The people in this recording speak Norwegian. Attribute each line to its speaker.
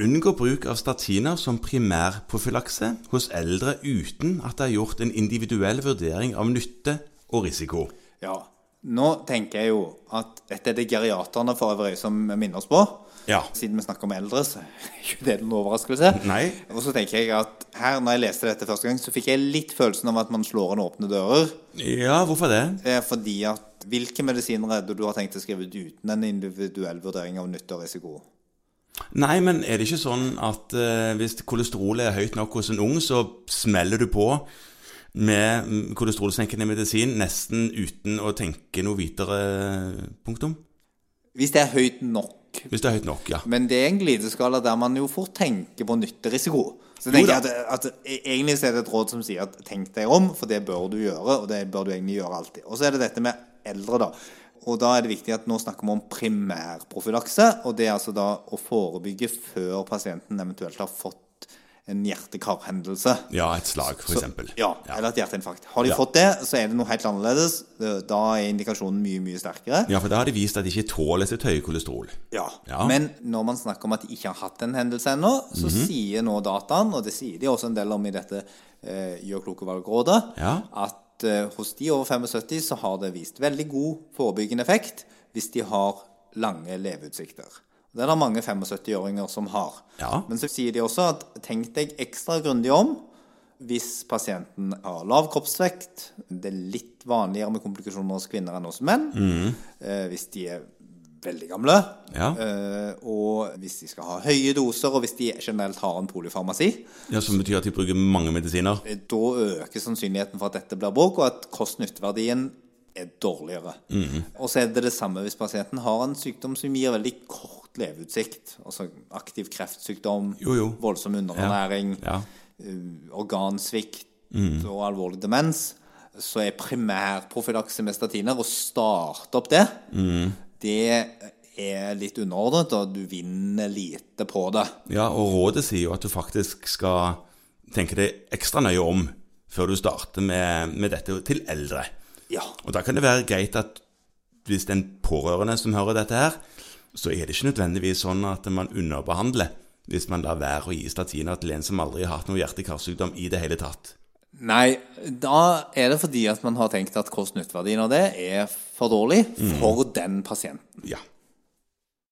Speaker 1: Unngå bruk av statiner som primærprofylakse hos eldre uten at det er gjort en individuell vurdering av nytte og risiko.
Speaker 2: Ja. Nå tenker jeg jo at dette er det geriaterne for øvrig som minner oss på.
Speaker 1: Ja.
Speaker 2: Siden vi snakker om eldre, så er ikke det noen overraskelse.
Speaker 1: Nei.
Speaker 2: Og så tenker jeg at her, når jeg leste dette første gang, så fikk jeg litt følelsen av at man slår inn åpne dører.
Speaker 1: Ja, hvorfor det?
Speaker 2: Eh, fordi at hvilke medisiner er det du har tenkt å skrive ut uten en individuell vurdering av nytte og risiko?
Speaker 1: Nei, men er det ikke sånn at eh, hvis kolesterolet er høyt nok hos en ung, så smeller du på med mm, kolesterolsenkende medisin nesten uten å tenke noe videre, punktum?
Speaker 2: Hvis det er høyt nok.
Speaker 1: Hvis det er høyt nok, ja.
Speaker 2: Men det er en glideskala der man jo fort tenker på nytte-risiko. Så tenker jeg at, at e, Egentlig så er det et råd som sier at tenk deg om, for det bør du gjøre. Og det bør du egentlig gjøre alltid. Og så er det dette med eldre, da. Og da er det viktig at nå snakker vi om primærprofylakse. Og det er altså da å forebygge før pasienten eventuelt har fått en hjerte-karhendelse.
Speaker 1: Ja, et slag, for eksempel.
Speaker 2: Ja, eller et hjerteinfarkt. Har de fått det, så er det noe helt annerledes. Da er indikasjonen mye, mye sterkere.
Speaker 1: Ja, for da har de vist at de ikke tåler sitt høye kolesterol.
Speaker 2: Ja.
Speaker 1: Ja.
Speaker 2: Men når man snakker om at de ikke har hatt en hendelse ennå, så
Speaker 1: Mhm.
Speaker 2: sier nå dataen, og det sier de også en del om i dette eh, Gjør kloke valg-rådet,
Speaker 1: Ja.
Speaker 2: at eh, hos de over 75 så har det vist veldig god forebyggende effekt hvis de har lange leveutsikter. Det er det mange 75-åringer som har.
Speaker 1: Ja.
Speaker 2: Men så sier de også at tenk deg ekstra grundig om hvis pasienten har lav kroppsvekt. Det er litt vanligere med komplikasjoner hos kvinner enn hos menn. Eh, hvis de er veldig gamle.
Speaker 1: Mhm. Ja.
Speaker 2: Eh, og hvis de skal ha høye doser, og hvis de generelt har en polyfarmasi,
Speaker 1: Ja, Som betyr at de bruker mange medisiner.
Speaker 2: eh, da øker sannsynligheten for at dette blir bruk, og at kost-nytte-verdien er dårligere.
Speaker 1: Mhm.
Speaker 2: Og så er det det samme hvis pasienten har en sykdom som gir veldig kort leveutsikt. Altså aktiv kreftsykdom,
Speaker 1: Jo, jo.
Speaker 2: voldsom underernæring,
Speaker 1: Ja.
Speaker 2: eh, organsvikt
Speaker 1: Mhm.
Speaker 2: og alvorlig demens. Så er primærprofylakse med statiner å starte opp det
Speaker 1: Mhm.
Speaker 2: det er litt underordnet, og du vinner lite på det.
Speaker 1: Ja, Og rådet sier jo at du faktisk skal tenke deg ekstra nøye om før du starter med, med dette til eldre.
Speaker 2: Ja.
Speaker 1: Og da kan det være greit at hvis det er en pårørende som hører dette her, så er det ikke nødvendigvis sånn at man underbehandler hvis man lar være å gi statiner til en som aldri har hatt noe hjerte-karsykdom i det hele tatt.
Speaker 2: Nei, da er det fordi at man har tenkt at kost-nytt-verdien av det er for dårlig for den pasienten.
Speaker 1: Ja.